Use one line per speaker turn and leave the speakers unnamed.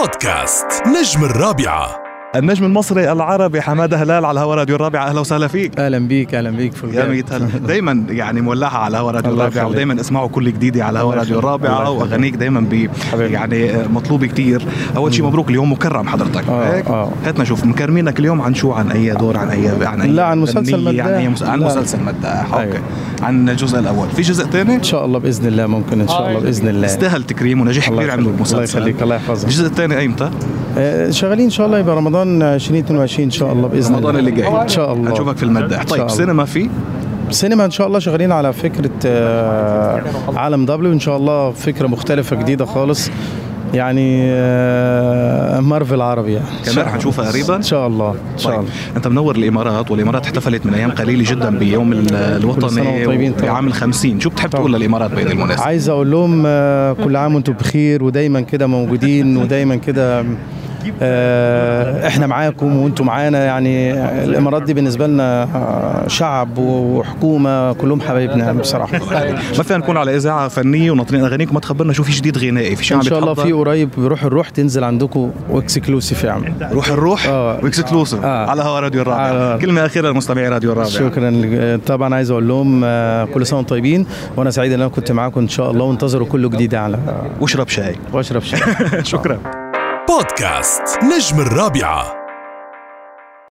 بودكاست نجم الرابعة
النجم المصري العربي حماده هلال على هوا راديو الرابعه اهلا وسهلا فيك
اهلا بيك اهلا بيك في
يا
الجامعة.
ميت هلا دايما يعني مولعه على هوا راديو
الله
الرابعه
يخليك.
ودايما اسمعوا كل جديد على هوا
الله
راديو
يخليك. الله
الرابعه
يخليك.
واغانيك دايما بي
حبيبي.
يعني آه، مطلوبه كتير اول شيء مبروك اليوم مكرم حضرتك
آه،
هيك؟
آه.
هاتنا نشوف مكرمينك اليوم عن شو عن اي دور عن اي عن أي
لا، عن مسلسل
فنية،
مداح.
عن اي مس... عن
لا.
مسلسل مداح اوكي
أيوة.
عن الجزء الاول في جزء ثاني
ان شاء الله باذن الله ممكن ان شاء الله باذن الله
استاهل تكريم ونجاح
الله
كبير
يخليك،
عملوا
الله
المسلسل
يخليك، الله يحفظك.
الجزء الثاني ايمتى؟
آه، شغالين ان شاء الله يبقى رمضان 2022 ان شاء الله باذن الله
رمضان اللي جاي
ان شاء الله
هنشوفك في المداح
إن شاء
طيب
الله.
سينما في
سينما ان شاء الله شغالين على فكره آه، عالم دبليو ان شاء الله فكره مختلفه جديده خالص يعني آه، مارفل عربي يعني إن شاء
كمان
الله.
حنشوفها قريبا؟
ان شاء الله ان شاء
طيب.
الله
انت منور الامارات والامارات احتفلت من ايام قليله جدا بيوم ال-
كل سنة
الوطني
وانتم طيبين طيب. طبعاً.
بعام ال 50 شو بتحب تقول للامارات بهذه المناسبه؟
عايز اقول لهم آه، كل عام وانتم بخير ودايما كده موجودين ودايما كده آه، احنا معاكم وانتم معانا يعني الامارات دي بالنسبه لنا آه، شعب وحكومه كلهم حبايبنا يعني بصراحه
ما فينا نكون على اذاعه فنيه وناطرين اغانيك وما تخبرنا شو في جديد غنائي في شيء
ان
عم
شاء الله
بيتحضر؟
في قريب بروح الروح تنزل عندكم واكسكلوسيف يا عم
روح الروح
آه.
واكسكلوسيف
آه.
على هوا راديو الرابع
على-
كلمه اخيره لمستمعي راديو الرابع
شكرا لك. طبعا عايز اقول لهم آه، كل سنه وانتم طيبين وانا سعيد ان انا كنت معاكم ان شاء الله وانتظروا كله جديد على
واشرب شاي
واشرب شاي
شكرا
بودكاست نجم الرابعه